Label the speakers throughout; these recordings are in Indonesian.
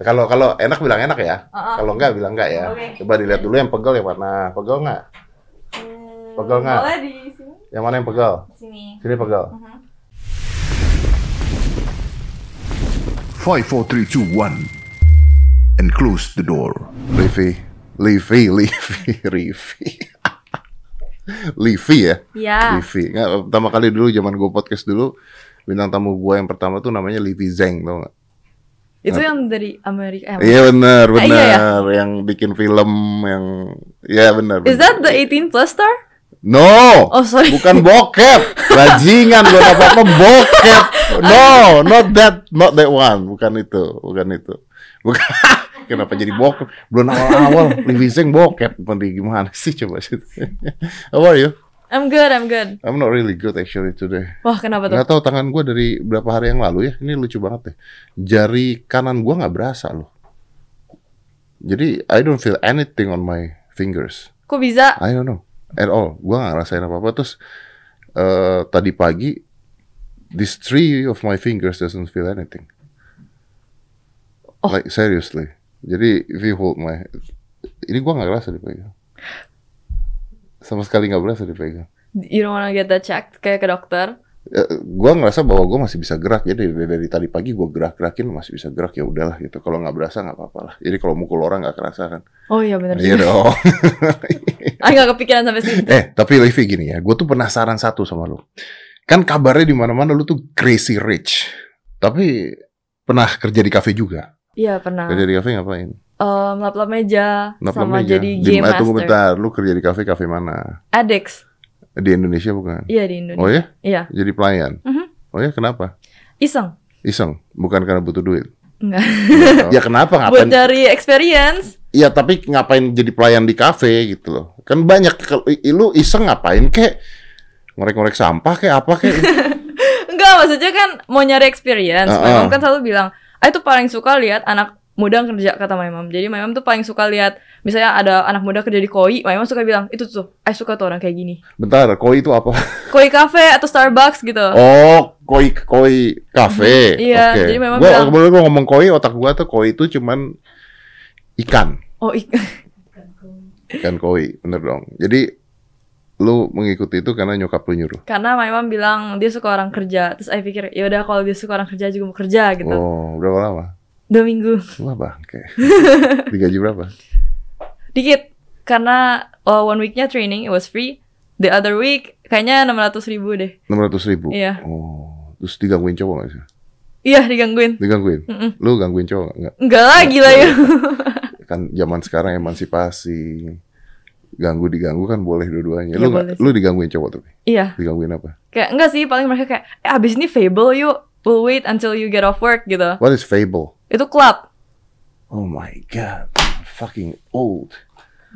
Speaker 1: Kalau kalau enak bilang enak ya.
Speaker 2: Heeh.
Speaker 1: Kalau enggak bilang enggak ya.
Speaker 2: Oke.
Speaker 1: Coba dilihat dulu yang pegel yang mana. Pegel enggak?
Speaker 2: Hmm,
Speaker 1: Pegel nggak?
Speaker 2: Boleh di sini.
Speaker 1: Yang mana yang pegel?
Speaker 2: Di sini.
Speaker 1: Sini pegel.
Speaker 2: Mhm.
Speaker 3: 5, 4, 3, 2, 1. And close the door.
Speaker 1: Livi, Livi, Livi, Livi. Livi ya.
Speaker 4: Iya,
Speaker 2: Ya.
Speaker 1: Livi. Nggak, pertama kali dulu zaman gue podcast dulu bintang tamu gue yang pertama tuh namanya Livi Zeng tau nggak?
Speaker 4: Itu yang dari Amerika. Eh,
Speaker 1: Iya benar
Speaker 4: Ah,
Speaker 1: benar
Speaker 4: iya ya?
Speaker 1: yang bikin film yang ya benar. benar.
Speaker 4: Is that the 18 plus star?
Speaker 1: No.
Speaker 4: Oh, sorry.
Speaker 1: Bukan bokep. Bajingan gue apa apa bokep. No, not that, not that one. Bukan itu, bukan itu. Bukan. Kenapa jadi bokep? Belum awal-awal Liviseng bokep. Nanti gimana sih coba sih. How are you?
Speaker 4: I'm good, I'm good.
Speaker 1: I'm not really good actually today.
Speaker 4: Wah, kenapa tuh?
Speaker 1: Nggak tahu tangan gue dari berapa hari yang lalu ya. Ini lucu banget deh. Jari kanan gue nggak berasa loh. Jadi I don't feel anything on my fingers.
Speaker 4: Kok bisa?
Speaker 1: I don't know at all. Gua nggak ngerasain apa apa. Terus eh, tadi pagi, these three of my fingers doesn't feel anything.
Speaker 4: Oh.
Speaker 1: Like seriously. Jadi if you hold my, ini gua nggak ngerasa dipegang. Sama sekali nggak berasa dipegang.
Speaker 4: You don't wanna get that checked kayak ke dokter?
Speaker 1: Eh, gua ngerasa bahwa gua masih bisa gerak jadi dari, dari tadi pagi gua gerak-gerakin masih bisa gerak ya udahlah gitu kalau nggak berasa nggak apa-apa lah jadi kalau mukul orang nggak kerasa kan
Speaker 4: Oh iya benar.
Speaker 1: iya dong
Speaker 4: Ah nggak kepikiran sampai situ.
Speaker 1: Eh, tapi Levi gini ya, gue tuh penasaran satu sama lu. Kan kabarnya di mana-mana lu tuh crazy rich. Tapi pernah kerja di cafe juga.
Speaker 4: Iya pernah.
Speaker 1: Kerja di cafe ngapain?
Speaker 4: Em, lap-lap meja
Speaker 1: Nap-nap
Speaker 4: sama
Speaker 1: meja.
Speaker 4: jadi
Speaker 1: Di-
Speaker 4: game
Speaker 1: eh, Tunggu
Speaker 4: master.
Speaker 1: bentar, lu kerja di cafe cafe mana?
Speaker 4: Addicts.
Speaker 1: Di Indonesia bukan?
Speaker 4: Iya di Indonesia.
Speaker 1: Oh ya?
Speaker 4: Iya.
Speaker 1: Jadi pelayan.
Speaker 4: Mhm.
Speaker 1: Oh ya, kenapa?
Speaker 4: Iseng.
Speaker 1: Iseng, bukan karena butuh duit.
Speaker 4: Enggak.
Speaker 1: ya kenapa
Speaker 4: Buat
Speaker 1: ngapain?
Speaker 4: dari experience.
Speaker 1: Iya, tapi ngapain jadi pelayan di cafe gitu loh. Kan banyak kalau i- lu iseng ngapain kek? Ngorek-ngorek sampah kek apa kek?
Speaker 4: Enggak, maksudnya kan mau nyari experience. My
Speaker 1: Ah, ah.
Speaker 4: mom kan selalu bilang, "Ah itu paling suka lihat anak muda kerja," kata my mom. Jadi my mom tuh paling suka lihat misalnya ada anak muda kerja di koi, my mom suka bilang, "Itu tuh, I suka tuh orang kayak gini."
Speaker 1: Bentar, koi itu apa?
Speaker 4: Koi cafe atau Starbucks gitu.
Speaker 1: Oh, koi koi cafe.
Speaker 4: Iya, jadi memang
Speaker 1: gua,
Speaker 4: bilang-
Speaker 1: kemudian gua ngomong koi, otak gua tuh koi itu cuman ikan,
Speaker 4: Oh, i-
Speaker 1: ikan koi, bener dong. Jadi lu mengikuti itu karena nyokap lu nyuruh.
Speaker 4: karena my mom bilang dia suka orang kerja. Terus I pikir, "Ya udah kalau dia suka orang kerja juga mau kerja" gitu.
Speaker 1: Oh, berapa lama?
Speaker 4: Dua minggu.
Speaker 1: Wah, bangke. Digaji berapa?
Speaker 4: Dikit. Karena uh, one weeknya training, it was free. The other week kayaknya 600 ribu deh.
Speaker 1: 600 ribu?
Speaker 4: Iya.
Speaker 1: Oh, terus digangguin cowok gak sih?
Speaker 4: Iya, digangguin.
Speaker 1: Digangguin?
Speaker 4: Mm-mm.
Speaker 1: Lu gangguin cowok nggak?
Speaker 4: Enggak lah, gila ya.
Speaker 1: Kan zaman sekarang emansipasi. Ganggu diganggu kan boleh dua-duanya.
Speaker 4: Iya,
Speaker 1: Lu nggak-
Speaker 4: boleh sih.
Speaker 1: lu digangguin cowok tapi?
Speaker 4: Iya.
Speaker 1: Digangguin apa?
Speaker 4: Kayak enggak sih, paling mereka kayak eh abis ini fable yuk, we'll wait until you get off work gitu.
Speaker 1: What is fable?
Speaker 4: Itu club.
Speaker 1: Oh my god, I'm fucking old.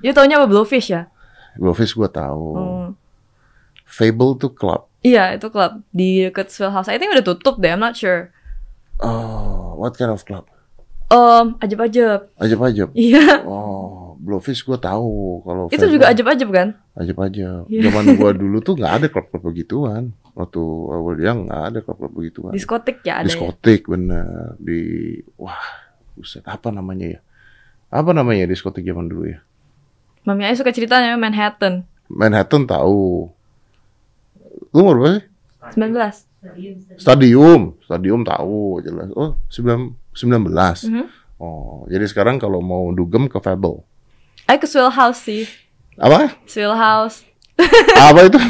Speaker 4: Dia taunya apa Blowfish ya?
Speaker 1: Blowfish gue tahu.
Speaker 4: Hmm.
Speaker 1: Fable tuh club.
Speaker 4: Iya, itu club di deket Swell House. I think udah tutup deh, I'm not sure.
Speaker 1: Oh, what kind of club?
Speaker 4: Um, ajab-ajab.
Speaker 1: Ajab-ajab.
Speaker 4: Iya.
Speaker 1: Oh, Blowfish gue tahu kalau
Speaker 4: itu
Speaker 1: Fable,
Speaker 4: juga ajab-ajab kan?
Speaker 1: Ajab-ajab.
Speaker 4: Iya.
Speaker 1: Zaman gue dulu tuh nggak ada klub-klub begituan. Waktu awal yang nggak ada klub-klub begituan.
Speaker 4: Diskotik ya ada. ya?
Speaker 1: Diskotik bener di wah buset apa namanya ya? Apa namanya ya diskotik zaman dulu ya?
Speaker 4: Mami Ayah suka ceritanya Manhattan.
Speaker 1: Manhattan tahu. Lu umur berapa sih?
Speaker 4: 19.
Speaker 1: Stadium, stadium tahu jelas. Oh, 9 19.
Speaker 4: Mhm.
Speaker 1: Oh, jadi sekarang kalau mau dugem ke Fable.
Speaker 4: Ayah ke Swell House sih.
Speaker 1: Apa?
Speaker 4: Swell House.
Speaker 1: Apa itu?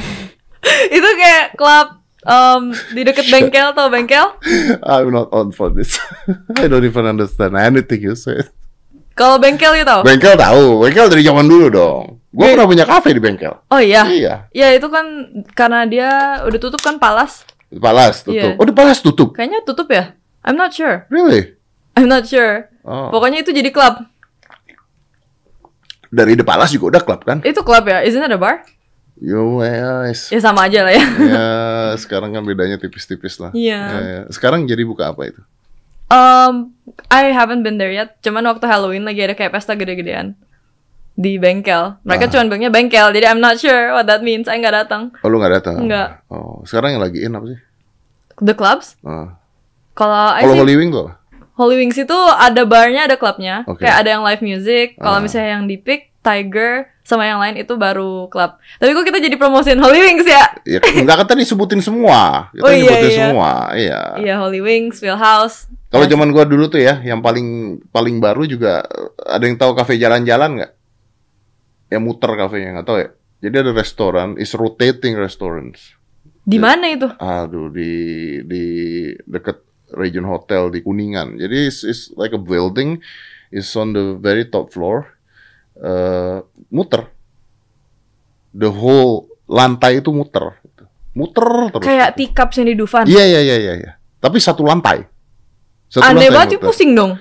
Speaker 4: itu kayak club um, di deket bengkel tau bengkel?
Speaker 1: I'm not on for this. I don't even understand anything you said.
Speaker 4: Kalau bengkel ya tau?
Speaker 1: Bengkel tahu, bengkel dari zaman dulu dong.
Speaker 4: Iya.
Speaker 1: Gua pernah punya kafe di bengkel.
Speaker 4: Oh iya.
Speaker 1: Iya,
Speaker 4: Ya itu kan karena dia udah tutup kan Palas.
Speaker 1: di Palas tutup.
Speaker 4: Iya.
Speaker 1: Oh, di Palas tutup.
Speaker 4: Kayaknya tutup ya? I'm not sure.
Speaker 1: Really?
Speaker 4: I'm not sure.
Speaker 1: Oh.
Speaker 4: Pokoknya itu jadi klub.
Speaker 1: dari The Palas juga udah klub kan?
Speaker 4: Itu klub ya? Isn't it a bar?
Speaker 1: Yo, guys.
Speaker 4: Ya sama aja lah ya.
Speaker 1: Ya, sekarang kan bedanya tipis-tipis lah.
Speaker 4: Iya.
Speaker 1: Ya, ya. Sekarang jadi buka apa itu?
Speaker 4: Um, I haven't been there yet. Cuman waktu Halloween lagi ada kayak pesta gede-gedean di bengkel. Mereka
Speaker 1: Ah.
Speaker 4: cuman bilangnya bengkel. Jadi I'm not sure what that means. Saya nggak datang.
Speaker 1: Oh, lu nggak datang?
Speaker 4: Nggak.
Speaker 1: Oh, sekarang yang lagi in apa sih?
Speaker 4: The clubs?
Speaker 1: Oh.
Speaker 4: Kalau I
Speaker 1: Kalau
Speaker 4: sih
Speaker 1: Holy Wing tuh apa?
Speaker 4: Holy Wings itu ada barnya, ada klubnya.
Speaker 1: Oke.
Speaker 4: Kayak ada yang live music.
Speaker 1: Ah.
Speaker 4: Kalau misalnya yang di Pick, Tiger, sama yang lain itu baru klub. Tapi kok kita jadi promosiin Holy Wings ya?
Speaker 1: Ya, enggak kan tadi sebutin semua. Kita
Speaker 4: Oh, iya,
Speaker 1: nyebutin
Speaker 4: iya.
Speaker 1: semua. Iya.
Speaker 4: Iya, Holy Wings, Wheelhouse.
Speaker 1: Kalau zaman gua dulu tuh ya, yang paling paling baru juga eh, ada yang tahu kafe jalan-jalan nggak? Ya muter kafenya nggak tahu ya. Jadi ada restoran, is rotating restaurants.
Speaker 4: Di mana itu?
Speaker 1: Aduh di di deket Region Hotel di Kuningan. Jadi it's, it's like a building, is on the very top floor. Eh, muter. The whole lantai itu muter. Muter terus.
Speaker 4: Kayak teacups yang di Dufan.
Speaker 1: Iya iya iya iya. iya. Tapi satu lantai. Satu
Speaker 4: Aneh
Speaker 1: lantai
Speaker 4: banget,
Speaker 1: muter.
Speaker 4: pusing dong.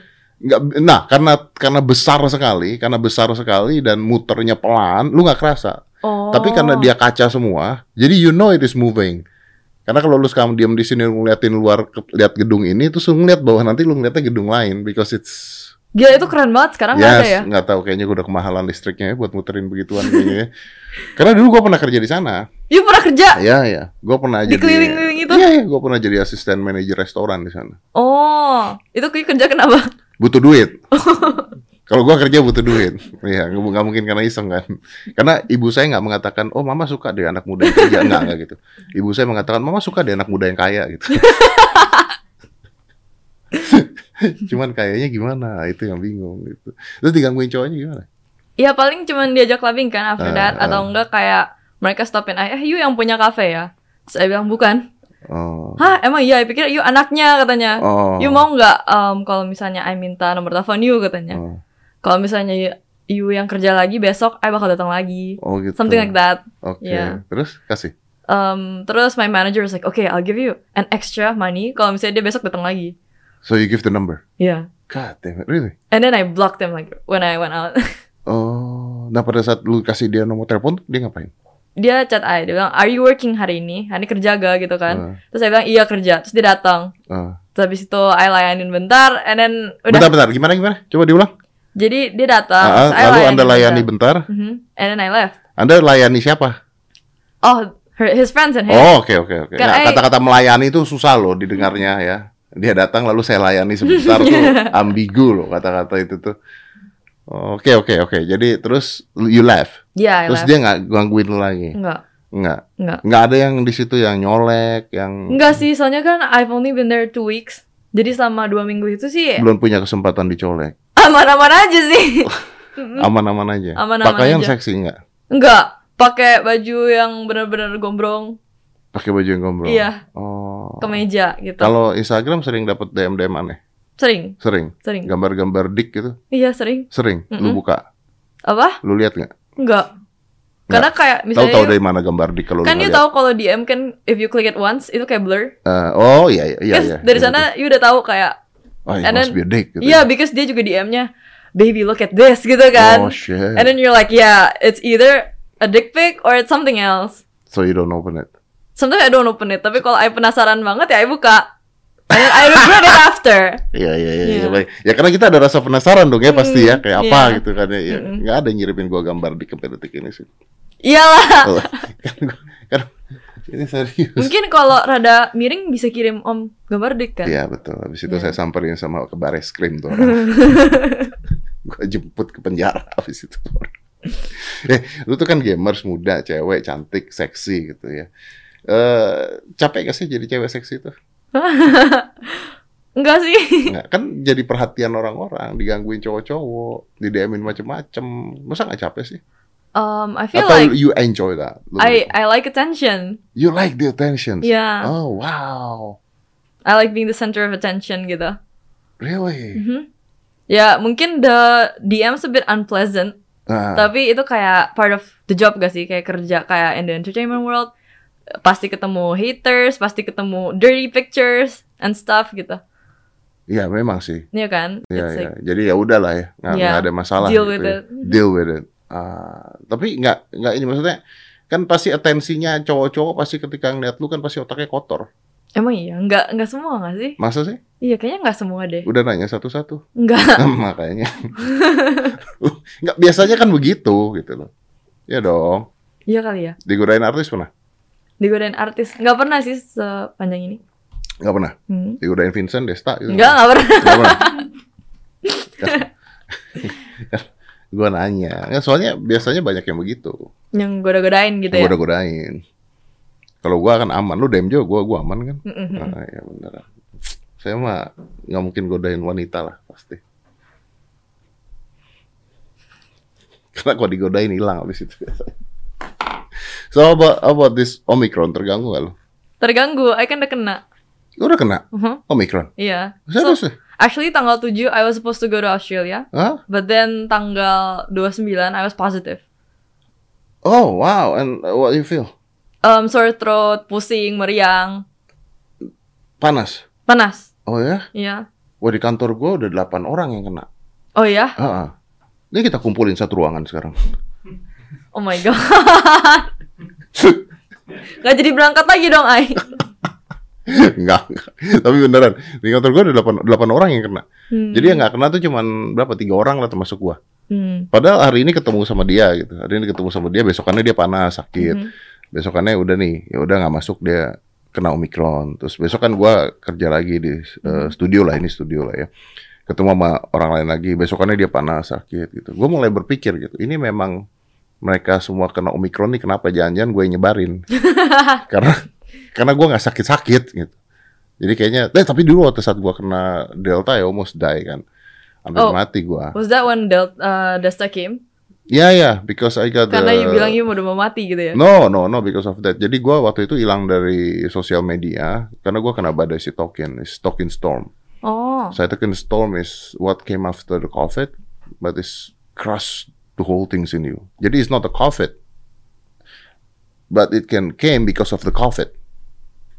Speaker 1: Nggak, nah karena karena besar sekali, karena besar sekali dan muternya pelan, lu nggak kerasa.
Speaker 4: Oh.
Speaker 1: Tapi karena dia kaca semua, jadi you know it is moving. Karena kalau lu sekarang diam di sini ngeliatin luar ke- lihat gedung ini, terus lu ngeliat bawah nanti lu ngeliatnya gedung lain because it's
Speaker 4: Gila, itu keren banget. Sekarang nggak ada ya?
Speaker 1: yes, nggak tahu kayaknya gua udah kemahalan listriknya ya buat muterin begituan kayaknya. ya. karena dulu gua pernah kerja di sana.
Speaker 4: You pernah kerja?
Speaker 1: Iya iya, gua pernah jadi
Speaker 4: Di keliling-keliling itu?
Speaker 1: Iya iya, gua pernah jadi asisten manajer restoran di sana.
Speaker 4: Oh, itu kayak kerja kenapa?
Speaker 1: butuh duit. Kalau gua kerja butuh duit, ya nggak nggak mungkin karena iseng kan. Karena ibu saya nggak mengatakan, oh mama suka deh anak muda yang kerja nggak nggak gitu. Ibu saya mengatakan mama suka deh anak muda yang kaya gitu. Cuman kayaknya gimana itu yang bingung gitu. Terus digangguin cowoknya gimana?
Speaker 4: Ya paling cuman diajak clubbing kan after
Speaker 1: Ah,
Speaker 4: that atau enggak kayak mereka stopin eh you yang punya kafe ya. Terus saya bilang bukan.
Speaker 1: Oh,
Speaker 4: Hah, emang iya, I pikir you anaknya katanya.
Speaker 1: oh,
Speaker 4: You mau nggak em, kalau misalnya I minta nomor telepon you katanya.
Speaker 1: oh,
Speaker 4: Kalau misalnya you- you yang kerja lagi besok I bakal datang lagi.
Speaker 1: oh gitu.
Speaker 4: Something like that.
Speaker 1: Oke,
Speaker 4: yeah.
Speaker 1: terus kasih.
Speaker 4: Em, terus my manager was like, "Okay, I'll give you an extra money kalau misalnya dia besok datang lagi."
Speaker 1: So you give the number.
Speaker 4: Yeah.
Speaker 1: God damn it, really?
Speaker 4: And then I blocked them like when I went out.
Speaker 1: Oh, nah pada saat lu kasih dia nomor telepon, dia ngapain?
Speaker 4: dia chat I, dia bilang, "Are you working hari ini? Hari ini kerja gak?" gitu kan.
Speaker 1: Ah,
Speaker 4: Terus saya bilang iya kerja. Terus dia datang.
Speaker 1: ah.
Speaker 4: Terus habis itu I layanin bentar, and then udah. Eh,
Speaker 1: Bentar, bentar. Gimana, gimana? Coba diulang.
Speaker 4: Jadi dia datang.
Speaker 1: Ah, ah,
Speaker 4: terus I
Speaker 1: lalu Anda layani
Speaker 4: bentar.
Speaker 1: bentar.
Speaker 4: Mhm. And then I left.
Speaker 1: Anda layani siapa?
Speaker 4: Oh, her, his friends and him.
Speaker 1: Oh, oke, oke, oke.
Speaker 4: Kan,
Speaker 1: Nah,
Speaker 4: eh.
Speaker 1: Kata-kata melayani itu susah loh didengarnya ya. Dia datang lalu saya layani sebentar tuh ambigu loh kata-kata itu tuh. Oke, oke, oke. Jadi terus you left.
Speaker 4: Yeah, I
Speaker 1: Terus
Speaker 4: left.
Speaker 1: dia nggak gangguin lu lagi.
Speaker 4: Enggak.
Speaker 1: Enggak.
Speaker 4: Enggak.
Speaker 1: Enggak ada yang di situ yang nyolek, yang
Speaker 4: Enggak sih, soalnya kan I've only been there two weeks. Jadi selama dua minggu itu sih
Speaker 1: belum punya kesempatan dicolek.
Speaker 4: aman-aman aja sih.
Speaker 1: Aman-aman aja.
Speaker 4: Aman-aman
Speaker 1: Pakaian
Speaker 4: aja.
Speaker 1: seksi enggak?
Speaker 4: Enggak. Pakai baju yang benar-benar gombrong,
Speaker 1: Pakai baju yang gombrong.
Speaker 4: Iya.
Speaker 1: Oh.
Speaker 4: kemeja gitu.
Speaker 1: Kalau Instagram sering dapat DM DM aneh.
Speaker 4: Sering,
Speaker 1: Sering.
Speaker 4: sering.
Speaker 1: Gambar-gambar dik gitu.
Speaker 4: Iya, sering.
Speaker 1: Sering. Lu
Speaker 4: Mm-mm.
Speaker 1: buka.
Speaker 4: Apa?
Speaker 1: Lu lihat nggak?
Speaker 4: Enggak. Karena kayak
Speaker 1: Tahu
Speaker 4: misalnya
Speaker 1: tahu dari mana gambar dik kalau lu
Speaker 4: kan you
Speaker 1: nggak lihat?
Speaker 4: tahu kalau DM kan if you click it once itu kayak blur.
Speaker 1: Eh, oh iya iya iya.
Speaker 4: Terus
Speaker 1: iya.
Speaker 4: dari
Speaker 1: Iya,
Speaker 4: sana you udah tahu kayak
Speaker 1: betul. Oh, it
Speaker 4: and
Speaker 1: must
Speaker 4: then-
Speaker 1: be a dick gitu.
Speaker 4: Iya, because dia juga DM-nya, baby look at this gitu kan.
Speaker 1: Oh shit.
Speaker 4: And then you're like, yeah, it's either a dick pic or it's something else.
Speaker 1: so you don't open it.
Speaker 4: Sometimes I don't open it, tapi kalau I penasaran banget ya I buka. And then I regret it after.
Speaker 1: Iya iya iya.
Speaker 4: Iya.
Speaker 1: iya, baik. Ya karena kita ada rasa penasaran dong ya pasti ya
Speaker 4: Mm,
Speaker 1: kayak
Speaker 4: iya.
Speaker 1: apa gitu kan ya. ya.
Speaker 4: Mm-mm.
Speaker 1: Nggak ada yang ngirimin gua gambar dik sampai detik ini sih.
Speaker 4: Iyalah.
Speaker 1: Oh, kan, gua- kan, ini serius.
Speaker 4: Mungkin kalau rada miring bisa kirim om gambar dik kan.
Speaker 1: Iya betul. Habis itu
Speaker 4: Iya.
Speaker 1: saya samperin sama ke baris krim tuh. gue jemput ke penjara habis itu. eh, lu tuh kan gamers muda, cewek cantik, seksi gitu ya. Eh, capek gak sih jadi cewek seksi tuh?
Speaker 4: Enggak sih.
Speaker 1: Nggak, kan jadi perhatian orang-orang, digangguin cowok-cowok, didemin macem-macem. Masa nggak capek sih?
Speaker 4: Um, I feel
Speaker 1: Atau
Speaker 4: like
Speaker 1: you enjoy that? Lu-
Speaker 4: I I like attention.
Speaker 1: You like the attention?
Speaker 4: Yeah,
Speaker 1: Oh wow,
Speaker 4: I like being the center of attention gitu.
Speaker 1: really?
Speaker 4: Mhm. Ya mungkin the DM's a bit unpleasant,
Speaker 1: Nah,
Speaker 4: Hmm. tapi itu kayak part of the job gak sih? Kayak kerja kayak in the entertainment world, pasti ketemu haters, pasti ketemu dirty pictures and stuff gitu.
Speaker 1: ya memang sih.
Speaker 4: Iya kan?
Speaker 1: Ya,
Speaker 4: It's
Speaker 1: ya.
Speaker 4: like
Speaker 1: Jadi ya udahlah ya, nggak
Speaker 4: Ya,
Speaker 1: nggak ada masalah.
Speaker 4: deal
Speaker 1: gitu
Speaker 4: with
Speaker 1: ya.
Speaker 4: it. Mm-hmm.
Speaker 1: Deal with it. Ah, tapi nggak nggak ini maksudnya kan pasti atensinya cowok-cowok pasti ketika ngeliat lu kan pasti otaknya kotor.
Speaker 4: Emang iya, nggak nggak semua nggak sih?
Speaker 1: Masa sih?
Speaker 4: Iya kayaknya nggak semua deh.
Speaker 1: Udah nanya satu-satu.
Speaker 4: Nggak.
Speaker 1: Nah, makanya. nggak biasanya kan begitu gitu loh. Ya dong.
Speaker 4: Iya kali ya.
Speaker 1: Digodain artis pernah?
Speaker 4: Digodain artis nggak pernah sih sepanjang ini.
Speaker 1: Gak pernah.
Speaker 4: Hmm.
Speaker 1: Digodain Vincent, Desta gitu.
Speaker 4: Enggak, enggak pernah.
Speaker 1: Gak pernah. gue Kan. nanya. Ya, soalnya biasanya banyak yang begitu.
Speaker 4: Yang goda-godain gitu ya.
Speaker 1: Gue udah godain. Kalau gue kan aman. Lu DM juga gue, gue aman kan?
Speaker 4: Mm-mm.
Speaker 1: Ah, ya beneran. Saya mah nggak mungkin godain wanita lah pasti. Karena kalau digodain hilang abis itu biasanya. So how about, how about this Omicron terganggu gak lo?
Speaker 4: Terganggu, I kan udah kena.
Speaker 1: Lu udah kena
Speaker 4: Mhm,
Speaker 1: Omicron?
Speaker 4: Iya. So,
Speaker 1: Serius ya?
Speaker 4: actually tanggal 7 I was supposed to go to Australia,
Speaker 1: Hah?
Speaker 4: but then tanggal 29 I was positive.
Speaker 1: Oh wow, and uh, what you feel?
Speaker 4: Um, sore throat, pusing, meriang,
Speaker 1: Panas?
Speaker 4: panas.
Speaker 1: Oh ya?
Speaker 4: Iya.
Speaker 1: Wah di kantor gua udah 8 orang yang kena.
Speaker 4: Oh ya?
Speaker 1: Heeh. Ini kita kumpulin satu ruangan sekarang.
Speaker 4: Oh my god. Gak jadi berangkat lagi dong, Ai.
Speaker 1: enggak, enggak. Tapi beneran, di kantor gua ada 8, 8 orang yang kena.
Speaker 4: Hmm.
Speaker 1: Jadi yang nggak kena tuh cuman berapa? Tiga orang lah termasuk gua.
Speaker 4: Hmm.
Speaker 1: Padahal hari ini ketemu sama dia gitu. Hari ini ketemu sama dia, besokannya dia panas, sakit.
Speaker 4: Mhm.
Speaker 1: Besokannya udah nih, ya udah nggak masuk dia kena omikron. Terus besok kan gua kerja lagi di eh, studio lah, ini studio lah ya. Ketemu sama orang lain lagi, besokannya dia panas, sakit gitu. Gua mulai berpikir gitu, ini memang mereka semua kena omikron nih kenapa jangan-jangan gue nyebarin? karena karena gua nggak sakit-sakit gitu. Jadi kayaknya, eh tapi dulu waktu saat gua kena delta ya almost die kan. Hampir
Speaker 4: Oh.
Speaker 1: mati gua.
Speaker 4: Was that when Delta uh, Desta came?
Speaker 1: Ya ya, because I got
Speaker 4: Karena
Speaker 1: the-
Speaker 4: you bilang you udah mau mati gitu ya.
Speaker 1: No, no, no because of that. Jadi gua waktu itu hilang dari sosial media karena gua kena badai sitokin, sitokin storm.
Speaker 4: Oh.
Speaker 1: Sitokin storm is what came after the COVID, but it's crush the whole things in you. Jadi it's not the COVID, but it can came because of the COVID.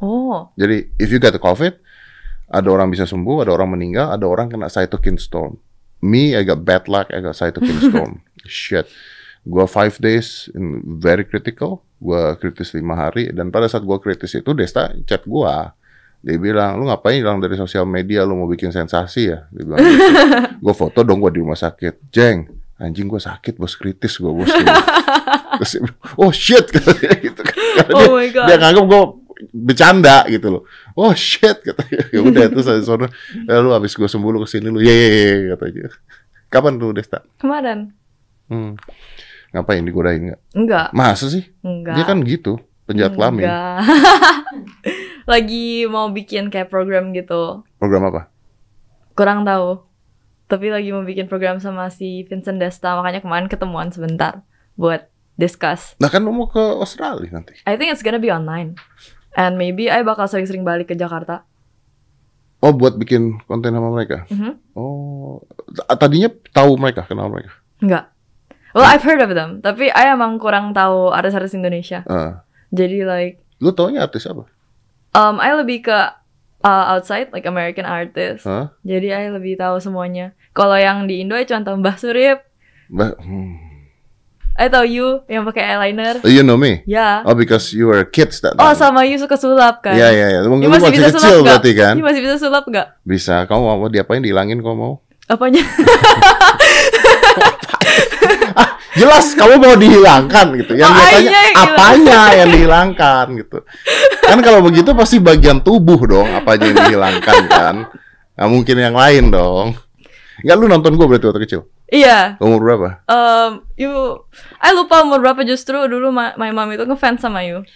Speaker 4: Oh.
Speaker 1: Jadi if you get the COVID, ada orang bisa sembuh, ada orang meninggal, ada orang kena cytokine storm. Me, I got bad luck, I got cytokine storm. Shit. Gua five days in very critical. Gua kritis lima hari dan pada saat gua kritis itu Desta chat gua. Dia bilang, lu ngapain hilang dari sosial media, lu mau bikin sensasi ya? Dia bilang gitu. Gua foto dong gua di rumah sakit. Jeng, anjing gua sakit, bos kritis gua bos. Terus dia bilang, oh shit, gitu. Karena dia-
Speaker 4: Oh my God.
Speaker 1: dia nganggap gue bercanda gitu loh. Oh shit katanya. Ya udah itu saya sono. Ya, lu habis gue sembuh lu kesini lu. Ye katanya. Kapan lu Desta?
Speaker 4: Kemarin.
Speaker 1: Hmm. Ngapain digodain nggak?
Speaker 4: Enggak.
Speaker 1: Masa sih?
Speaker 4: Enggak.
Speaker 1: Dia kan gitu penjahat
Speaker 4: Hmm,
Speaker 1: kelamin.
Speaker 4: Enggak. lagi mau bikin kayak program gitu.
Speaker 1: Program apa?
Speaker 4: Kurang tahu. Tapi lagi mau bikin program sama si Vincent Desta, makanya kemarin ketemuan sebentar buat discuss.
Speaker 1: Nah kan lu mau ke Australia nanti.
Speaker 4: I think it's gonna be online. And maybe I bakal sering-sering balik ke Jakarta.
Speaker 1: Oh buat bikin konten sama mereka.
Speaker 4: Mhm.
Speaker 1: Oh t- tadinya tahu mereka kenal mereka.
Speaker 4: Enggak. Well, I've heard of them, tapi I emang kurang tahu artis-artis Indonesia.
Speaker 1: Eh,
Speaker 4: Jadi like
Speaker 1: lu taunya artis apa?
Speaker 4: um I lebih ke uh, outside like American artist.
Speaker 1: Hah?
Speaker 4: Jadi I lebih tahu semuanya. Kalau yang di Indo I cuma tahu Mbah Surip,
Speaker 1: Ba- hmm.
Speaker 4: I tahu you Eh, yang pakai eyeliner.
Speaker 1: You know me?
Speaker 4: Ya.
Speaker 1: Oh because you were kids that time.
Speaker 4: Oh, sama you suka sulap kan?
Speaker 1: Iya iya iya. Mungkin
Speaker 4: You
Speaker 1: lu
Speaker 4: masih
Speaker 1: masih
Speaker 4: bisa
Speaker 1: kecil
Speaker 4: sulap nggak?
Speaker 1: berarti kan?
Speaker 4: You masih bisa sulap nggak?
Speaker 1: Bisa, kamu mau diapain dihilangin kamu mau?
Speaker 4: Apanya?
Speaker 1: Jelas kamu mau dihilangkan gitu. Yang
Speaker 4: Oh,
Speaker 1: biasanya
Speaker 4: ayah yang
Speaker 1: apanya yang dihilangkan gitu. Kan kalau begitu pasti bagian tubuh dong apa aja yang dihilangkan kan. Nggak mungkin yang lain dong. Enggak lu nonton gue berarti waktu kecil.
Speaker 4: Iya.
Speaker 1: Umur berapa?
Speaker 4: Um, you, I lupa umur berapa justru dulu ma- my mom itu ngefans sama you.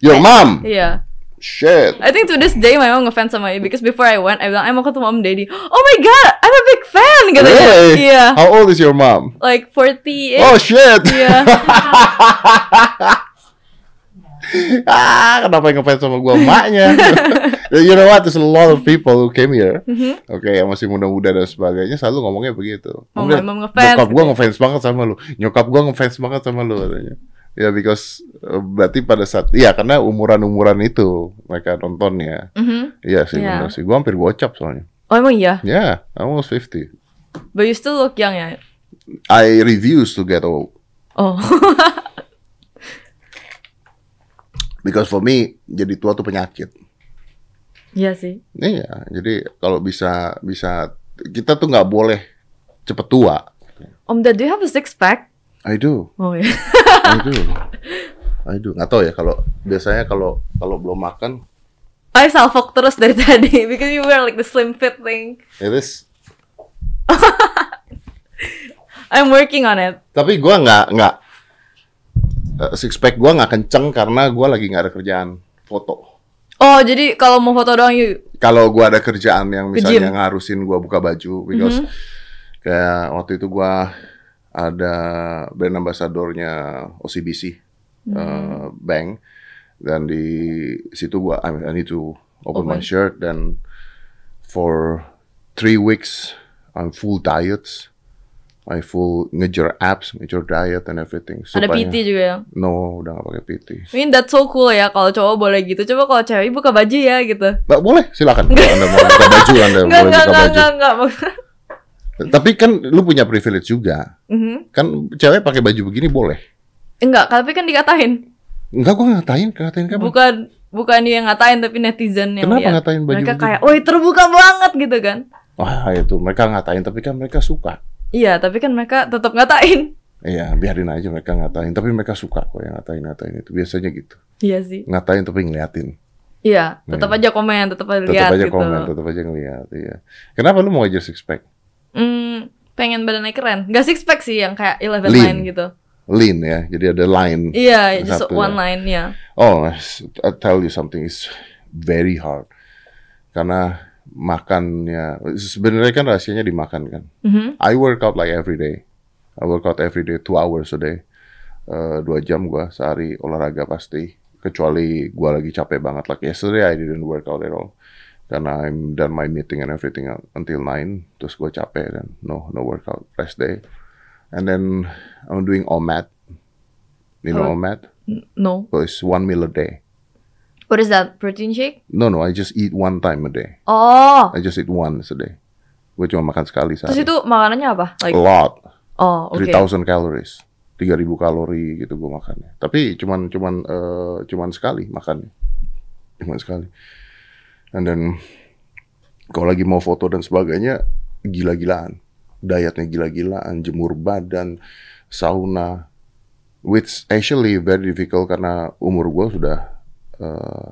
Speaker 1: Your mom.
Speaker 4: Iya.
Speaker 1: Shit.
Speaker 4: I think to this day my mom ngefans sama you because before I went I bilang I mau ketemu Om Deddy. Oh my god, I'm a big fan gitu.
Speaker 1: Really?
Speaker 4: Iya.
Speaker 1: How old is your mom?
Speaker 4: Like 40
Speaker 1: Oh shit.
Speaker 4: Iya.
Speaker 1: ah, kenapa yang ngefans sama gua emaknya? you know what? There's a lot of people who came here. Oke, yang masih muda-muda dan sebagainya selalu ngomongnya begitu.
Speaker 4: Mm-hmm. Oh,
Speaker 1: Kemudian,
Speaker 4: my mom ngefans.
Speaker 1: Bokap gua ngefans banget sama lu. Nyokap gua ngefans banget sama lu katanya. Ya because eh, berarti pada saat iya karena umuran-umuran itu mereka nontonnya.
Speaker 4: Mhm.
Speaker 1: Iya sih
Speaker 4: Iya.
Speaker 1: benar sih. Gua hampir gocap soalnya.
Speaker 4: Oh emang iya.
Speaker 1: Ya, yeah, almost 50.
Speaker 4: But you still look young ya.
Speaker 1: I refuse to get old.
Speaker 4: Oh.
Speaker 1: Because for me, jadi tua tuh penyakit.
Speaker 4: Iya sih.
Speaker 1: Iya, jadi kalau bisa bisa kita tuh nggak boleh cepet tua.
Speaker 4: Om Ded, Um, do you have a six pack?
Speaker 1: I do,
Speaker 4: Oh iya.
Speaker 1: I do, I do. Nggak tahu ya kalau biasanya kalau kalau belum makan
Speaker 4: I salfok terus dari tadi because you wear like the slim fit thing.
Speaker 1: It is.
Speaker 4: I'm working on it.
Speaker 1: Tapi gua nggak nggak eh, six pack gua nggak kenceng karena gua lagi nggak ada kerjaan foto.
Speaker 4: Oh, jadi kalau mau foto doang you
Speaker 1: Kalau gua ada kerjaan yang
Speaker 4: Ke
Speaker 1: misalnya
Speaker 4: gym. Mm-hmm.
Speaker 1: ngarusin gua buka baju because kayak waktu itu gua ada brand ambassadornya OCBC
Speaker 4: Mm-hmm.
Speaker 1: eh, bank dan di situ gua I, mean, I need to open my
Speaker 4: Open.
Speaker 1: shirt dan for three weeks I'm full diets. I full ngejar abs, ngejar diet and everything.
Speaker 4: ada
Speaker 1: Supaya-
Speaker 4: PT juga ya.
Speaker 1: No, udah gak pakai PT.
Speaker 4: I mean that's so cool ya kalau cowok boleh gitu. Coba kalau cewek buka baju ya gitu.
Speaker 1: Ba- boleh, silakan. Kalau Anda mau buka baju, Anda boleh
Speaker 4: Enggak
Speaker 1: buka
Speaker 4: enggak enggak
Speaker 1: baju.
Speaker 4: enggak enggak. maksud-
Speaker 1: Tapi kan lu punya privilege juga.
Speaker 4: Mhm.
Speaker 1: Kan cewek pakai baju begini boleh.
Speaker 4: Enggak, tapi kan dikatain.
Speaker 1: Enggak, gua ngatain, ngatain kamu.
Speaker 4: Bukan bukan dia yang ngatain tapi netizen yang
Speaker 1: Kenapa
Speaker 4: lihat.
Speaker 1: ngatain baju gitu?
Speaker 4: Mereka
Speaker 1: begitu?
Speaker 4: kayak, "Woi, terbuka banget" gitu kan.
Speaker 1: Wah, itu mereka ngatain, tapi kan mereka suka.
Speaker 4: Iya, tapi kan mereka tetap ngatain.
Speaker 1: Iya, biarin aja mereka ngatain, tapi mereka suka kok yang ngatain-ngatain itu. Biasanya gitu.
Speaker 4: Iya sih.
Speaker 1: Ngatain tapi ngeliatin.
Speaker 4: Iya, tetap
Speaker 1: Iya.
Speaker 4: aja komen, tetap aja
Speaker 1: Tetap
Speaker 4: lihat
Speaker 1: aja
Speaker 4: gitu.
Speaker 1: komen, tetap aja ngeliat, iya. Kenapa lu mau aja six pack?
Speaker 4: Hmm, pengen badannya keren. Gak six pack sih yang kayak eleven
Speaker 1: Lean.
Speaker 4: line gitu.
Speaker 1: Lean ya, jadi ada line.
Speaker 4: Iya, just
Speaker 1: Satu,
Speaker 4: one
Speaker 1: ya.
Speaker 4: line ya.
Speaker 1: Oh, I tell you something, it's very hard. Karena makannya, sebenarnya kan rahasianya dimakan kan.
Speaker 4: Mhm.
Speaker 1: I work out like every day. I work out every day, two hours a day. Eh, dua jam gua sehari olahraga pasti. Kecuali gua lagi capek banget. Like yesterday I didn't work out at all. Karena I'm done my meeting and everything until 9. Terus gua capek dan no, no workout. Rest day. And then I'm doing OMAD. You know
Speaker 4: Oh.
Speaker 1: OMAD?
Speaker 4: No.
Speaker 1: So it's one meal a day.
Speaker 4: What is that? Protein shake?
Speaker 1: No, no, I just eat one time a day.
Speaker 4: Oh.
Speaker 1: I just eat once a day. Gue cuma makan sekali
Speaker 4: Terus
Speaker 1: sehari.
Speaker 4: itu makanannya apa? Like
Speaker 1: A lot.
Speaker 4: oh, oke.
Speaker 1: 3000 calories. 3000 kalori gitu gue makannya. Tapi cuman cuman eh, cuman sekali makannya. Cuman sekali. And then kalau lagi mau foto dan sebagainya gila-gilaan. Dietnya gila-gilaan, jemur badan, sauna. Which actually very difficult karena umur gue sudah eh,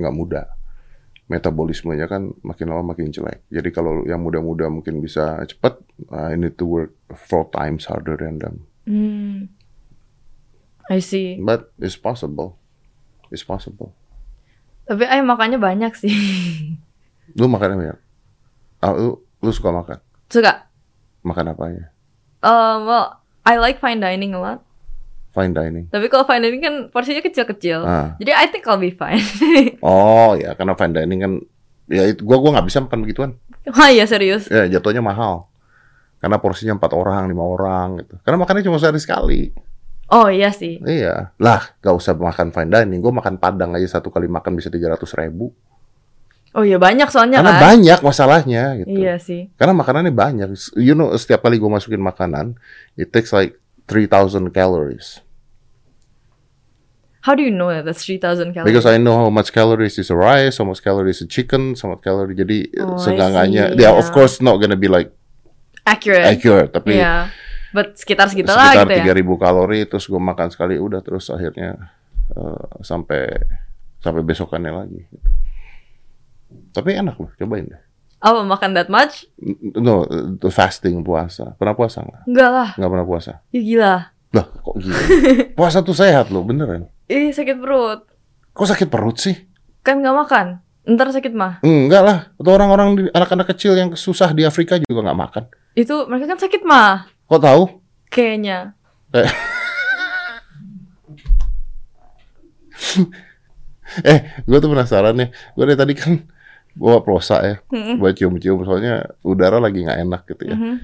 Speaker 1: nggak muda metabolismenya kan makin lama makin jelek. Jadi kalau yang muda-muda mungkin bisa cepat, uh, I need to work four times harder than them.
Speaker 4: Hmm. I see.
Speaker 1: But it's possible. It's possible.
Speaker 4: Tapi ay makannya banyak sih.
Speaker 1: Lu makannya banyak. Ah, lu, lu suka makan.
Speaker 4: Suka.
Speaker 1: Makan apa aja?
Speaker 4: Um, well, I like fine dining a lot.
Speaker 1: Fine dining.
Speaker 4: Tapi kalau fine dining kan porsinya kecil-kecil.
Speaker 1: Ah.
Speaker 4: Jadi I think I'll be fine.
Speaker 1: Oh ya, karena fine dining kan ya itu gua gua nggak bisa makan begituan.
Speaker 4: Wah iya serius.
Speaker 1: Ya jatuhnya mahal. Karena porsinya empat orang, lima orang gitu. Karena makannya cuma sehari sekali.
Speaker 4: Oh iya sih.
Speaker 1: Iya. Lah, gak usah makan fine dining. Gue makan padang aja satu kali makan bisa 300 ribu.
Speaker 4: Oh iya banyak soalnya
Speaker 1: Karena
Speaker 4: kan.
Speaker 1: banyak masalahnya gitu.
Speaker 4: Iya sih.
Speaker 1: Karena makanannya banyak. You know, setiap kali gue masukin makanan, it takes like 3000 calories.
Speaker 4: How do you know that that's 3000 calories?
Speaker 1: Because I know how much calories is a rice, how much calories is chicken, how much calorie. Jadi
Speaker 4: Oh, I
Speaker 1: senggangannya,
Speaker 4: see,
Speaker 1: dia
Speaker 4: yeah.
Speaker 1: of course not gonna be like
Speaker 4: accurate.
Speaker 1: accurate, tapi
Speaker 4: Iya. But sekitar-sekitar lah
Speaker 1: sekitar
Speaker 4: gitu ya.
Speaker 1: 3000 kalori. Terus gue makan sekali, udah terus akhirnya eh, sampai sampai besokannya lagi. Gitu. Tapi enak loh, cobain deh.
Speaker 4: Apa Oh, makan that much?
Speaker 1: N- No, eh, fasting puasa. Pernah puasa nggak?
Speaker 4: Enggak lah.
Speaker 1: Nggak pernah puasa.
Speaker 4: Ya gila.
Speaker 1: Lah, kok gini? Puasa tuh sehat loh, beneran.
Speaker 4: Ih sakit perut.
Speaker 1: Kok sakit perut sih?
Speaker 4: Kan nggak makan. Ntar sakit mah.
Speaker 1: Enggak lah. Atau orang-orang di- anak-anak kecil yang susah di Afrika juga nggak makan.
Speaker 4: Itu mereka kan sakit mah.
Speaker 1: Kok tahu?
Speaker 4: Kayaknya.
Speaker 1: Eh. eh, gue tuh penasaran ya. Gue dari tadi kan bawa prosa ya,
Speaker 4: Eh.
Speaker 1: buat cium-cium soalnya udara lagi nggak enak gitu ya.
Speaker 4: Mhm.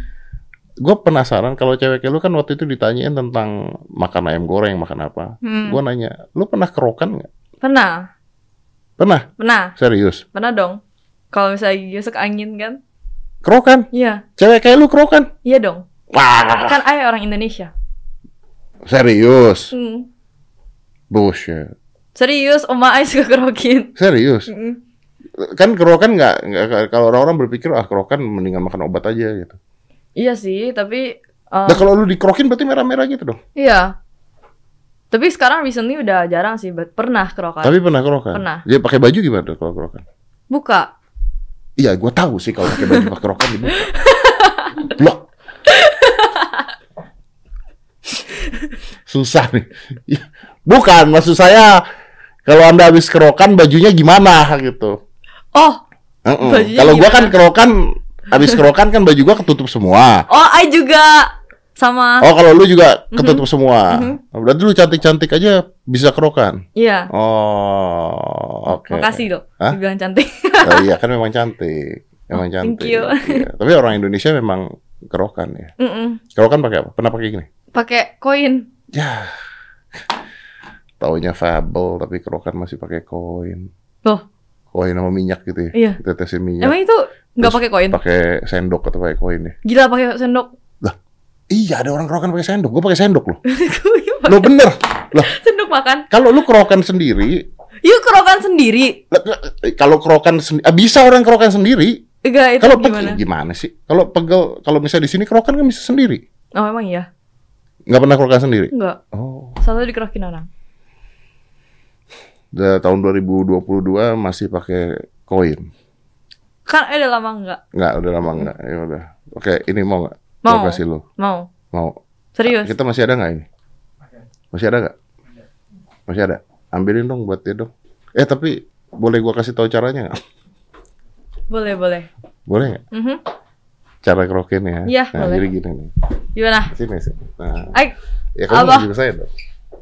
Speaker 1: Gue penasaran kalau cewek lu kan waktu itu ditanyain tentang makan ayam goreng, makan apa.
Speaker 4: Hmm.
Speaker 1: Gue nanya, lu pernah kerokan nggak?
Speaker 4: Pernah.
Speaker 1: Pernah?
Speaker 4: Pernah.
Speaker 1: Serius?
Speaker 4: Pernah dong. Kalau misalnya gigi masuk angin kan.
Speaker 1: Kerokan?
Speaker 4: Iya.
Speaker 1: Cewek kayak lu kerokan?
Speaker 4: Iya dong.
Speaker 1: Wah,
Speaker 4: Kan ayah orang Indonesia.
Speaker 1: serius?
Speaker 4: Hmm.
Speaker 1: Bullshit.
Speaker 4: Serius, oma ayah suka kerokin.
Speaker 1: Serius?
Speaker 4: Mm.
Speaker 1: Kan kerokan nggak? nggak- Kalau orang-orang berpikir ah kerokan mendingan makan obat aja gitu.
Speaker 4: Iya sih, tapi... um,
Speaker 1: Nah kalau lu dikerokin berarti merah-merah gitu dong.
Speaker 4: Iya. Tapi sekarang recently udah jarang sih, but pernah kerokan.
Speaker 1: Tapi pernah kerokan?
Speaker 4: Pernah.
Speaker 1: Dia pakai baju gimana tuh kalau kerokan?
Speaker 4: Buka.
Speaker 1: Iya, gue tahu sih kalau pakai baju pakai kerokan dibuka. Blok. Susah nih. Iya. Bukan, maksud saya kalau anda habis kerokan bajunya gimana gitu.
Speaker 4: Oh,
Speaker 1: Heeh.
Speaker 4: Bajunya
Speaker 1: Kalau gua
Speaker 4: gimana?
Speaker 1: kan kerokan habis kerokan kan baju gua ketutup semua.
Speaker 4: oh, I juga sama.
Speaker 1: Oh, kalau lu juga
Speaker 4: Mm-hmm.
Speaker 1: ketutup semua. Berarti lu cantik-cantik aja bisa kerokan.
Speaker 4: Iya.
Speaker 1: Oh, oke.
Speaker 4: Makasih loh,
Speaker 1: Hah?
Speaker 4: dibilang cantik.
Speaker 1: Oh, iya kan memang cantik, memang
Speaker 4: Oh,
Speaker 1: cantik.
Speaker 4: thank you.
Speaker 1: Iya. Tapi orang Indonesia memang kerokan ya.
Speaker 4: Mm-mm.
Speaker 1: Kerokan pakai apa? Pernah pakai gini?
Speaker 4: Pakai koin.
Speaker 1: Ya, taunya fable tapi kerokan masih pakai koin.
Speaker 4: Loh,
Speaker 1: Koin sama minyak gitu ya?
Speaker 4: Iya.
Speaker 1: Ditetesin
Speaker 4: emang
Speaker 1: minyak.
Speaker 4: itu nggak pakai koin?
Speaker 1: Pakai sendok atau pakai koin ya?
Speaker 4: Gila pakai sendok.
Speaker 1: Iya, ada orang kerokan pakai sendok. Gue pakai sendok loh.
Speaker 4: Gua
Speaker 1: Lo bener. Loh,
Speaker 4: sendok makan.
Speaker 1: kalau lu kerokan sendiri,
Speaker 4: Yuk kerokan sendiri.
Speaker 1: lah, eh, kalau kerokan sendi- ah, bisa orang kerokan sendiri.
Speaker 4: Enggak itu
Speaker 1: Kalau gitu. pegel
Speaker 4: gimana?
Speaker 1: gimana? sih? Kalau pegel, kalau misalnya di sini kerokan kan bisa sendiri.
Speaker 4: Oh, emang iya.
Speaker 1: Nggak pernah kerokan sendiri.
Speaker 4: Enggak.
Speaker 1: Oh,
Speaker 4: Satu dikerokin orang.
Speaker 1: da- tahun 2022 masih pakai koin.
Speaker 4: Kan eh, udah lama enggak.
Speaker 1: Nggak, udah lama nggak. Ya udah. Oke, ini mau nggak?
Speaker 4: Mau.
Speaker 1: Gua kasih lu.
Speaker 4: Mau.
Speaker 1: Mau.
Speaker 4: Serius.
Speaker 1: Kita masih ada nggak ini? Masih ada nggak? Masih ada. Ambilin dong buat dia dong. Eh tapi boleh gua kasih tahu caranya nggak?
Speaker 4: Boleh, boleh.
Speaker 1: Boleh nggak?
Speaker 4: Mhm.
Speaker 1: Cara kerokin ya?
Speaker 4: Iya,
Speaker 1: nah,
Speaker 4: boleh.
Speaker 1: Jadi gini nih.
Speaker 4: Gimana?
Speaker 1: Sini sini. Nah,
Speaker 4: Ay,
Speaker 1: ya kamu
Speaker 4: apa?
Speaker 1: nggak juga saya dong.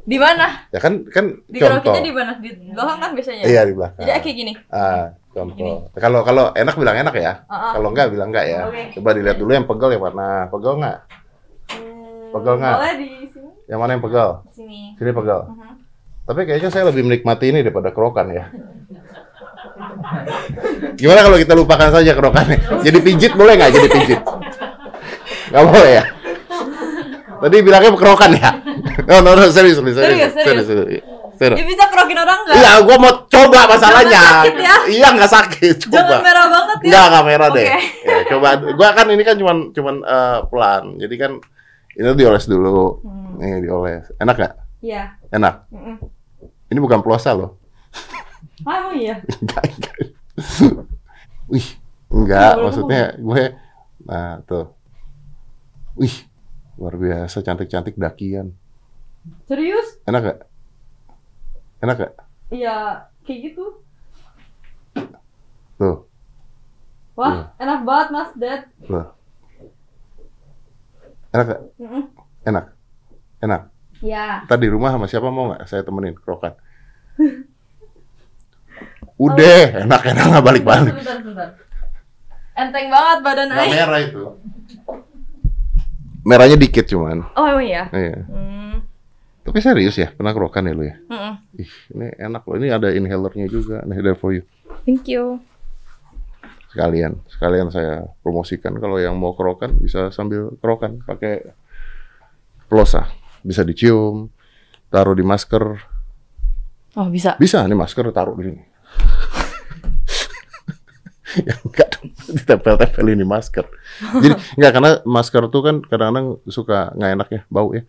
Speaker 4: di mana?
Speaker 1: Ya kan kan contoh.
Speaker 4: Dikerokinnya di mana? Di belakang kan biasanya.
Speaker 1: Iya di belakang.
Speaker 4: Jadi kayak gitu. gini.
Speaker 1: Ah, contoh. Kalau kalau enak bilang enak ya.
Speaker 4: Heeh.
Speaker 1: Kalau enggak bilang enggak ya.
Speaker 4: Ah, Oke.
Speaker 1: Coba dilihat dulu yang pegel yang mana. Pegel enggak? Pegel nggak?
Speaker 4: Boleh di sini.
Speaker 1: Yang mana yang pegel?
Speaker 4: Di sini.
Speaker 1: Sini pegel.
Speaker 4: Mhm.
Speaker 1: Tapi kayaknya saya lebih menikmati ini daripada kerokan ya. Gimana kalau kita lupakan saja kerokannya? Jadi pijit boleh nggak jadi pijit? Nggak boleh ya? Tadi bilangnya kerokan ya? No, no, no, serius, serius, serius,
Speaker 4: Serius,
Speaker 1: serius,
Speaker 4: serius.
Speaker 1: serius. serius.
Speaker 4: Ya bisa kerokin orang enggak?
Speaker 1: Iya, gua mau coba masalahnya.
Speaker 4: Jangan sakit ya.
Speaker 1: Iya, nggak sakit. Coba.
Speaker 4: Jangan merah banget ya.
Speaker 1: Enggak, enggak merah deh.
Speaker 4: Oke.
Speaker 1: Ya, coba gua kan ini kan cuman cuman eh, pelan. Jadi kan ini dioles dulu. Nih dioles. Enak gak?
Speaker 4: Iya.
Speaker 1: Enak.
Speaker 4: Hmm. Mm-mm.
Speaker 1: Ini bukan puasa loh.
Speaker 4: Ah, emang iya.
Speaker 1: Enggak, enggak. Wih, enggak.
Speaker 4: Boleh,
Speaker 1: Maksudnya gue nah tuh. Wih, luar biasa cantik-cantik dakian.
Speaker 4: Serius?
Speaker 1: Enak gak? Enak gak?
Speaker 4: Iya, kayak gitu.
Speaker 1: Tuh,
Speaker 4: Wah,
Speaker 1: Iya.
Speaker 4: enak banget Mas Dad.
Speaker 1: tuh. Nah. Enak gak?
Speaker 4: Mm-mm.
Speaker 1: Enak. Enak.
Speaker 4: Iya.
Speaker 1: Ntar di rumah sama siapa mau nggak saya temenin kerokan? Udah, enak-enak nggak balik-balik.
Speaker 4: Sebentar, sebentar. Enteng banget badan
Speaker 1: Nggak
Speaker 4: Aing.
Speaker 1: merah itu. Merahnya dikit cuman.
Speaker 4: Oh, emang iya.
Speaker 1: Iya.
Speaker 4: Hmm.
Speaker 1: Tapi serius ya, pernah kerokan ya lu ya?
Speaker 4: Mm-mm.
Speaker 1: Ih, ini enak loh. Ini ada inhalernya juga. Nih, there for you.
Speaker 4: Thank you.
Speaker 1: Sekalian, sekalian saya promosikan kalau yang mau kerokan bisa sambil kerokan pakai pelosa. Bisa dicium, taruh di masker.
Speaker 4: Oh, bisa.
Speaker 1: Bisa nih masker taruh di sini. ya enggak dong, ditempel-tempel ini masker. Jadi enggak karena masker tuh kan kadang-kadang suka nggak enak ya, bau ya,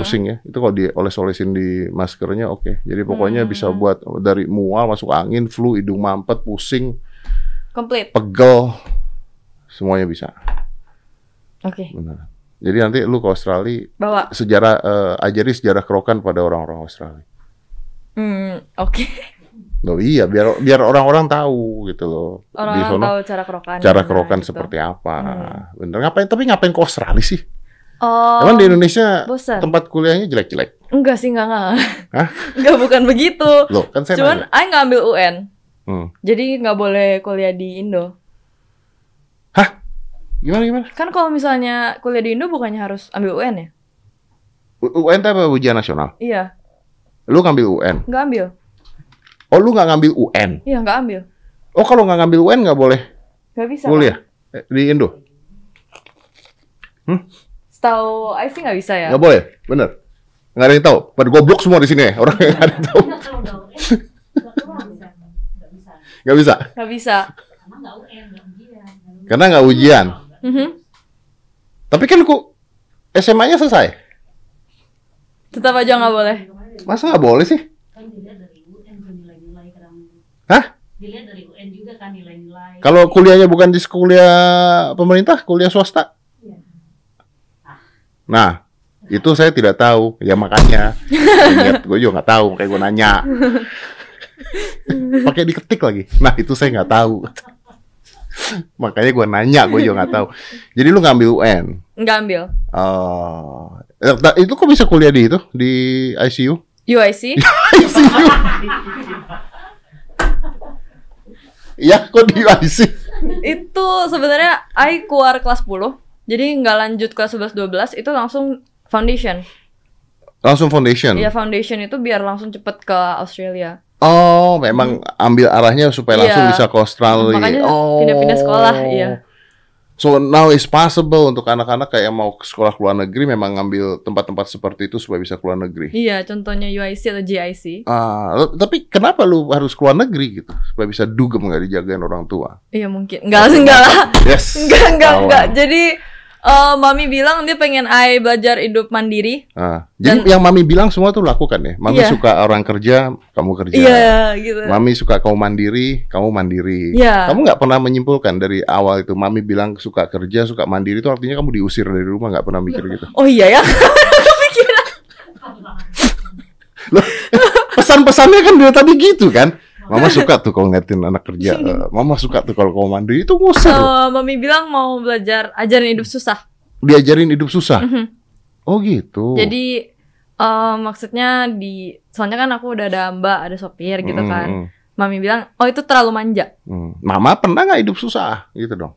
Speaker 1: pusing ya. Itu kalau dioles-olesin di maskernya oke. Jadi pokoknya bisa buat dari mual masuk angin, flu, hidung mampet, pusing,
Speaker 4: Complete.
Speaker 1: pegel, semuanya bisa.
Speaker 4: Oke.
Speaker 1: Benar. Jadi nanti lu ke Australia
Speaker 4: Bawa.
Speaker 1: sejarah eh, ajari sejarah kerokan pada orang-orang Australia.
Speaker 4: Hmm, oke.
Speaker 1: Loh iya, biar biar orang-orang tahu gitu loh. Di
Speaker 4: Orang-orang
Speaker 1: sono-
Speaker 4: tahu gitu. cara kerokan. Nah,
Speaker 1: cara kerokan seperti apa. Bener ngapain tapi ngapain ke Australia sih?
Speaker 4: Oh.
Speaker 1: Emang di Indonesia
Speaker 4: bosan.
Speaker 1: tempat kuliahnya jelek-jelek.
Speaker 4: Enggak sih, enggak enggak.
Speaker 1: Hah?
Speaker 4: Enggak bukan begitu.
Speaker 1: Loh, kan saya
Speaker 4: Cuman
Speaker 1: nanya.
Speaker 4: Aing ngambil UN.
Speaker 1: Hmm.
Speaker 4: Jadi nggak boleh kuliah di Indo.
Speaker 1: Hah? Gimana gimana?
Speaker 4: Kan kalau misalnya kuliah di Indo bukannya harus ambil UN ya?
Speaker 1: U- UN itu apa ujian nasional?
Speaker 4: Iya,
Speaker 1: Lu ngambil UN.
Speaker 4: nggak ambil.
Speaker 1: Oh, lu nggak ngambil UN.
Speaker 4: Iya, nggak ambil.
Speaker 1: Oh, kalau nggak ngambil UN nggak boleh
Speaker 4: Nggak bisa.
Speaker 1: kuliah Eh, di Indo.
Speaker 4: Setahu Aing sih nggak bisa ya.
Speaker 1: Nggak boleh. Bener. Nggak ada yang tahu. Pada goblok semua di sini ya. Orang yang nggak ada yang tahu. Nggak bisa.
Speaker 4: Nggak bisa.
Speaker 1: Karena nggak ujian.
Speaker 4: Mhm.
Speaker 1: Tapi kan ku SMA-nya selesai.
Speaker 4: Tetap aja nggak boleh.
Speaker 1: Masa nggak boleh sih?
Speaker 5: Kan dilihat dari UN tuh nilai-nilai kadang
Speaker 1: Hah?
Speaker 5: dilihat dari UN juga kan nilai-nilai.
Speaker 1: Kalau kuliahnya bukan di kuliah pemerintah, kuliah swasta? Nah, itu saya tidak tahu. Ya makanya, ingat gue juga nggak tahu, makanya gue nanya. Pakai diketik lagi. Nah, itu saya nggak tahu. makanya gue nanya, gue juga nggak tahu. Jadi lu ngambil UN.
Speaker 4: Nggak ambil.
Speaker 1: Oh, eh, ta- itu kok bisa kuliah di itu di ICU?
Speaker 4: UIC?
Speaker 1: ICU. ya, kok di ICU?
Speaker 4: itu sebenarnya I keluar kelas 10. Jadi nggak lanjut kelas 11 12 itu langsung foundation.
Speaker 1: Langsung foundation.
Speaker 4: Iya, foundation itu biar langsung cepet ke Australia.
Speaker 1: Oh, memang ambil arahnya supaya langsung
Speaker 4: Hmm. Iya.
Speaker 1: bisa ke Australia.
Speaker 4: Makanya
Speaker 1: oh.
Speaker 4: pindah-pindah sekolah, iya.
Speaker 1: So now it's possible untuk anak-anak kayak mau ke sekolah ke luar negeri memang ngambil tempat-tempat seperti itu supaya bisa ke luar negeri.
Speaker 4: Iya, contohnya UIC atau GIC.
Speaker 1: Ah, lo- tapi kenapa lu harus ke luar negeri gitu? Supaya bisa dugem nggak dijagain orang tua?
Speaker 4: Iya, mungkin. Enggak, enggak lah.
Speaker 1: Yes.
Speaker 4: Enggak, enggak,
Speaker 1: Kawan.
Speaker 4: enggak. Jadi eh, mami bilang dia pengen I belajar hidup mandiri.
Speaker 1: Ah, jadi
Speaker 4: Dan-
Speaker 1: yang mami bilang semua tuh lakukan ya. Mami
Speaker 4: Iya.
Speaker 1: suka orang kerja, kamu kerja.
Speaker 4: Iya, gitu.
Speaker 1: Mami suka kamu mandiri, kamu mandiri.
Speaker 4: Iya.
Speaker 1: Kamu nggak pernah menyimpulkan dari awal itu. Mami bilang suka kerja, suka mandiri itu artinya kamu diusir dari rumah nggak pernah mikir gitu.
Speaker 4: Oh iya ya.
Speaker 1: Loh, pesan-pesannya kan dari tadi gitu kan.
Speaker 4: Iya.
Speaker 1: Mama suka tuh kalau ngeliatin anak kerja. Eh, Mama suka tuh kalau kamu mandiri itu ngusir. loh.
Speaker 4: Eh, mami bilang mau belajar ajarin hidup susah.
Speaker 1: Diajarin hidup susah. Oh gitu.
Speaker 4: Mm. Jadi eh, maksudnya di soalnya kan aku udah ada mbak, ada sopir gitu
Speaker 1: Mm,
Speaker 4: kan.
Speaker 1: mm,
Speaker 4: Mami bilang, "Oh, itu terlalu manja."
Speaker 1: mm. Mama pernah nggak hidup susah gitu dong.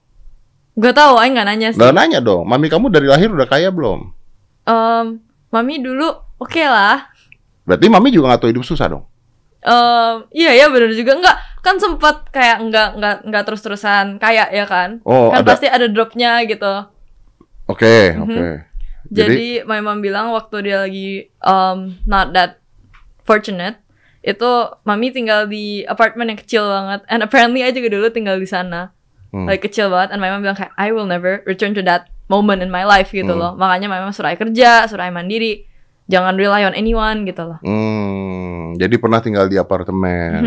Speaker 4: Gak tahu, aing nggak nanya sih.
Speaker 1: Dan nanya dong, mami kamu dari lahir udah kaya belum?
Speaker 4: Em, mami dulu oke lah.
Speaker 1: Berarti mami juga nggak tahu hidup susah dong.
Speaker 4: Em, iya ya benar juga enggak kan sempat kayak enggak enggak enggak terus-terusan kayak ya kan.
Speaker 1: Oh,
Speaker 4: kan
Speaker 1: ada-
Speaker 4: pasti ada dropnya gitu.
Speaker 1: Oke, oke. Jadi,
Speaker 4: Mm-hmm. Jadi, my mom bilang waktu dia lagi um, not that fortunate itu mami tinggal di apartemen yang kecil banget and apparently I juga dulu tinggal di sana
Speaker 1: Hmm.
Speaker 4: like kecil banget and my mom bilang kayak I will never return to that moment in my life gitu
Speaker 1: Hmm.
Speaker 4: loh makanya my mom suruh I kerja suruh I mandiri jangan rely on anyone gitu loh Mm-hmm.
Speaker 1: hmm, jadi pernah tinggal di
Speaker 4: Mhm.
Speaker 1: apartemen.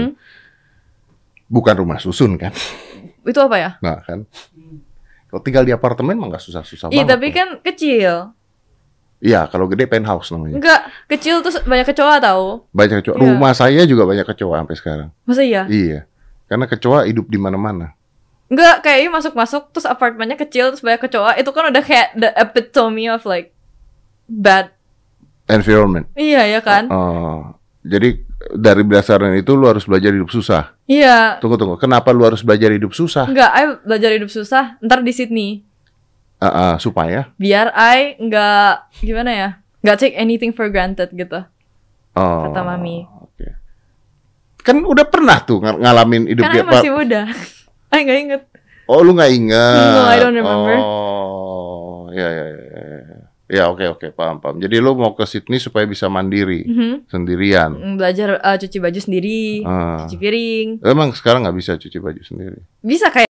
Speaker 1: Bukan rumah susun kan?
Speaker 4: itu apa ya?
Speaker 1: Nah, kan. Kalau tinggal di apartemen mah nggak susah-susah
Speaker 4: Ih
Speaker 1: banget.
Speaker 4: tapi
Speaker 1: tuh.
Speaker 4: kan kecil
Speaker 1: Iya, kalau gede penthouse namanya.
Speaker 4: enggak kecil tuh banyak kecoa tahu
Speaker 1: Banyak kecoa.
Speaker 4: Iya.
Speaker 1: Rumah saya juga banyak kecoa sampai sekarang.
Speaker 4: masa iya?
Speaker 1: Iya. Karena kecoa hidup di mana-mana.
Speaker 4: Enggak, kayaknya masuk-masuk terus apartemennya kecil terus banyak kecoa. Itu kan udah kayak the epitome of like bad.
Speaker 1: Environment.
Speaker 4: Iya ya kan?
Speaker 1: Oh, jadi dari berdasarkan itu lu harus belajar hidup susah.
Speaker 4: Iya.
Speaker 1: Tunggu tunggu. Kenapa lu harus belajar hidup susah?
Speaker 4: Enggak, I belajar hidup susah ntar di Sydney. Hmm.
Speaker 1: Ah, ah, supaya
Speaker 4: Biar I enggak gimana ya? Enggak take anything for granted gitu.
Speaker 1: Oh,
Speaker 4: Kata mami.
Speaker 1: Oke. Kan udah pernah tuh ng- ngalamin hidup
Speaker 4: Karena
Speaker 1: dia.
Speaker 4: I Kan masih muda. I enggak inget.
Speaker 1: Oh, lu nggak ingat?
Speaker 4: No, I don't remember.
Speaker 1: Oh, ya ya ya. ya. Ya oke oke paham paham. Jadi lu mau ke Sydney supaya bisa mandiri
Speaker 4: Mhm.
Speaker 1: sendirian.
Speaker 4: Mm, Belajar uh, cuci baju sendiri,
Speaker 1: Ah.
Speaker 4: cuci piring.
Speaker 1: Emang sekarang nggak bisa cuci baju sendiri.
Speaker 4: Bisa kayak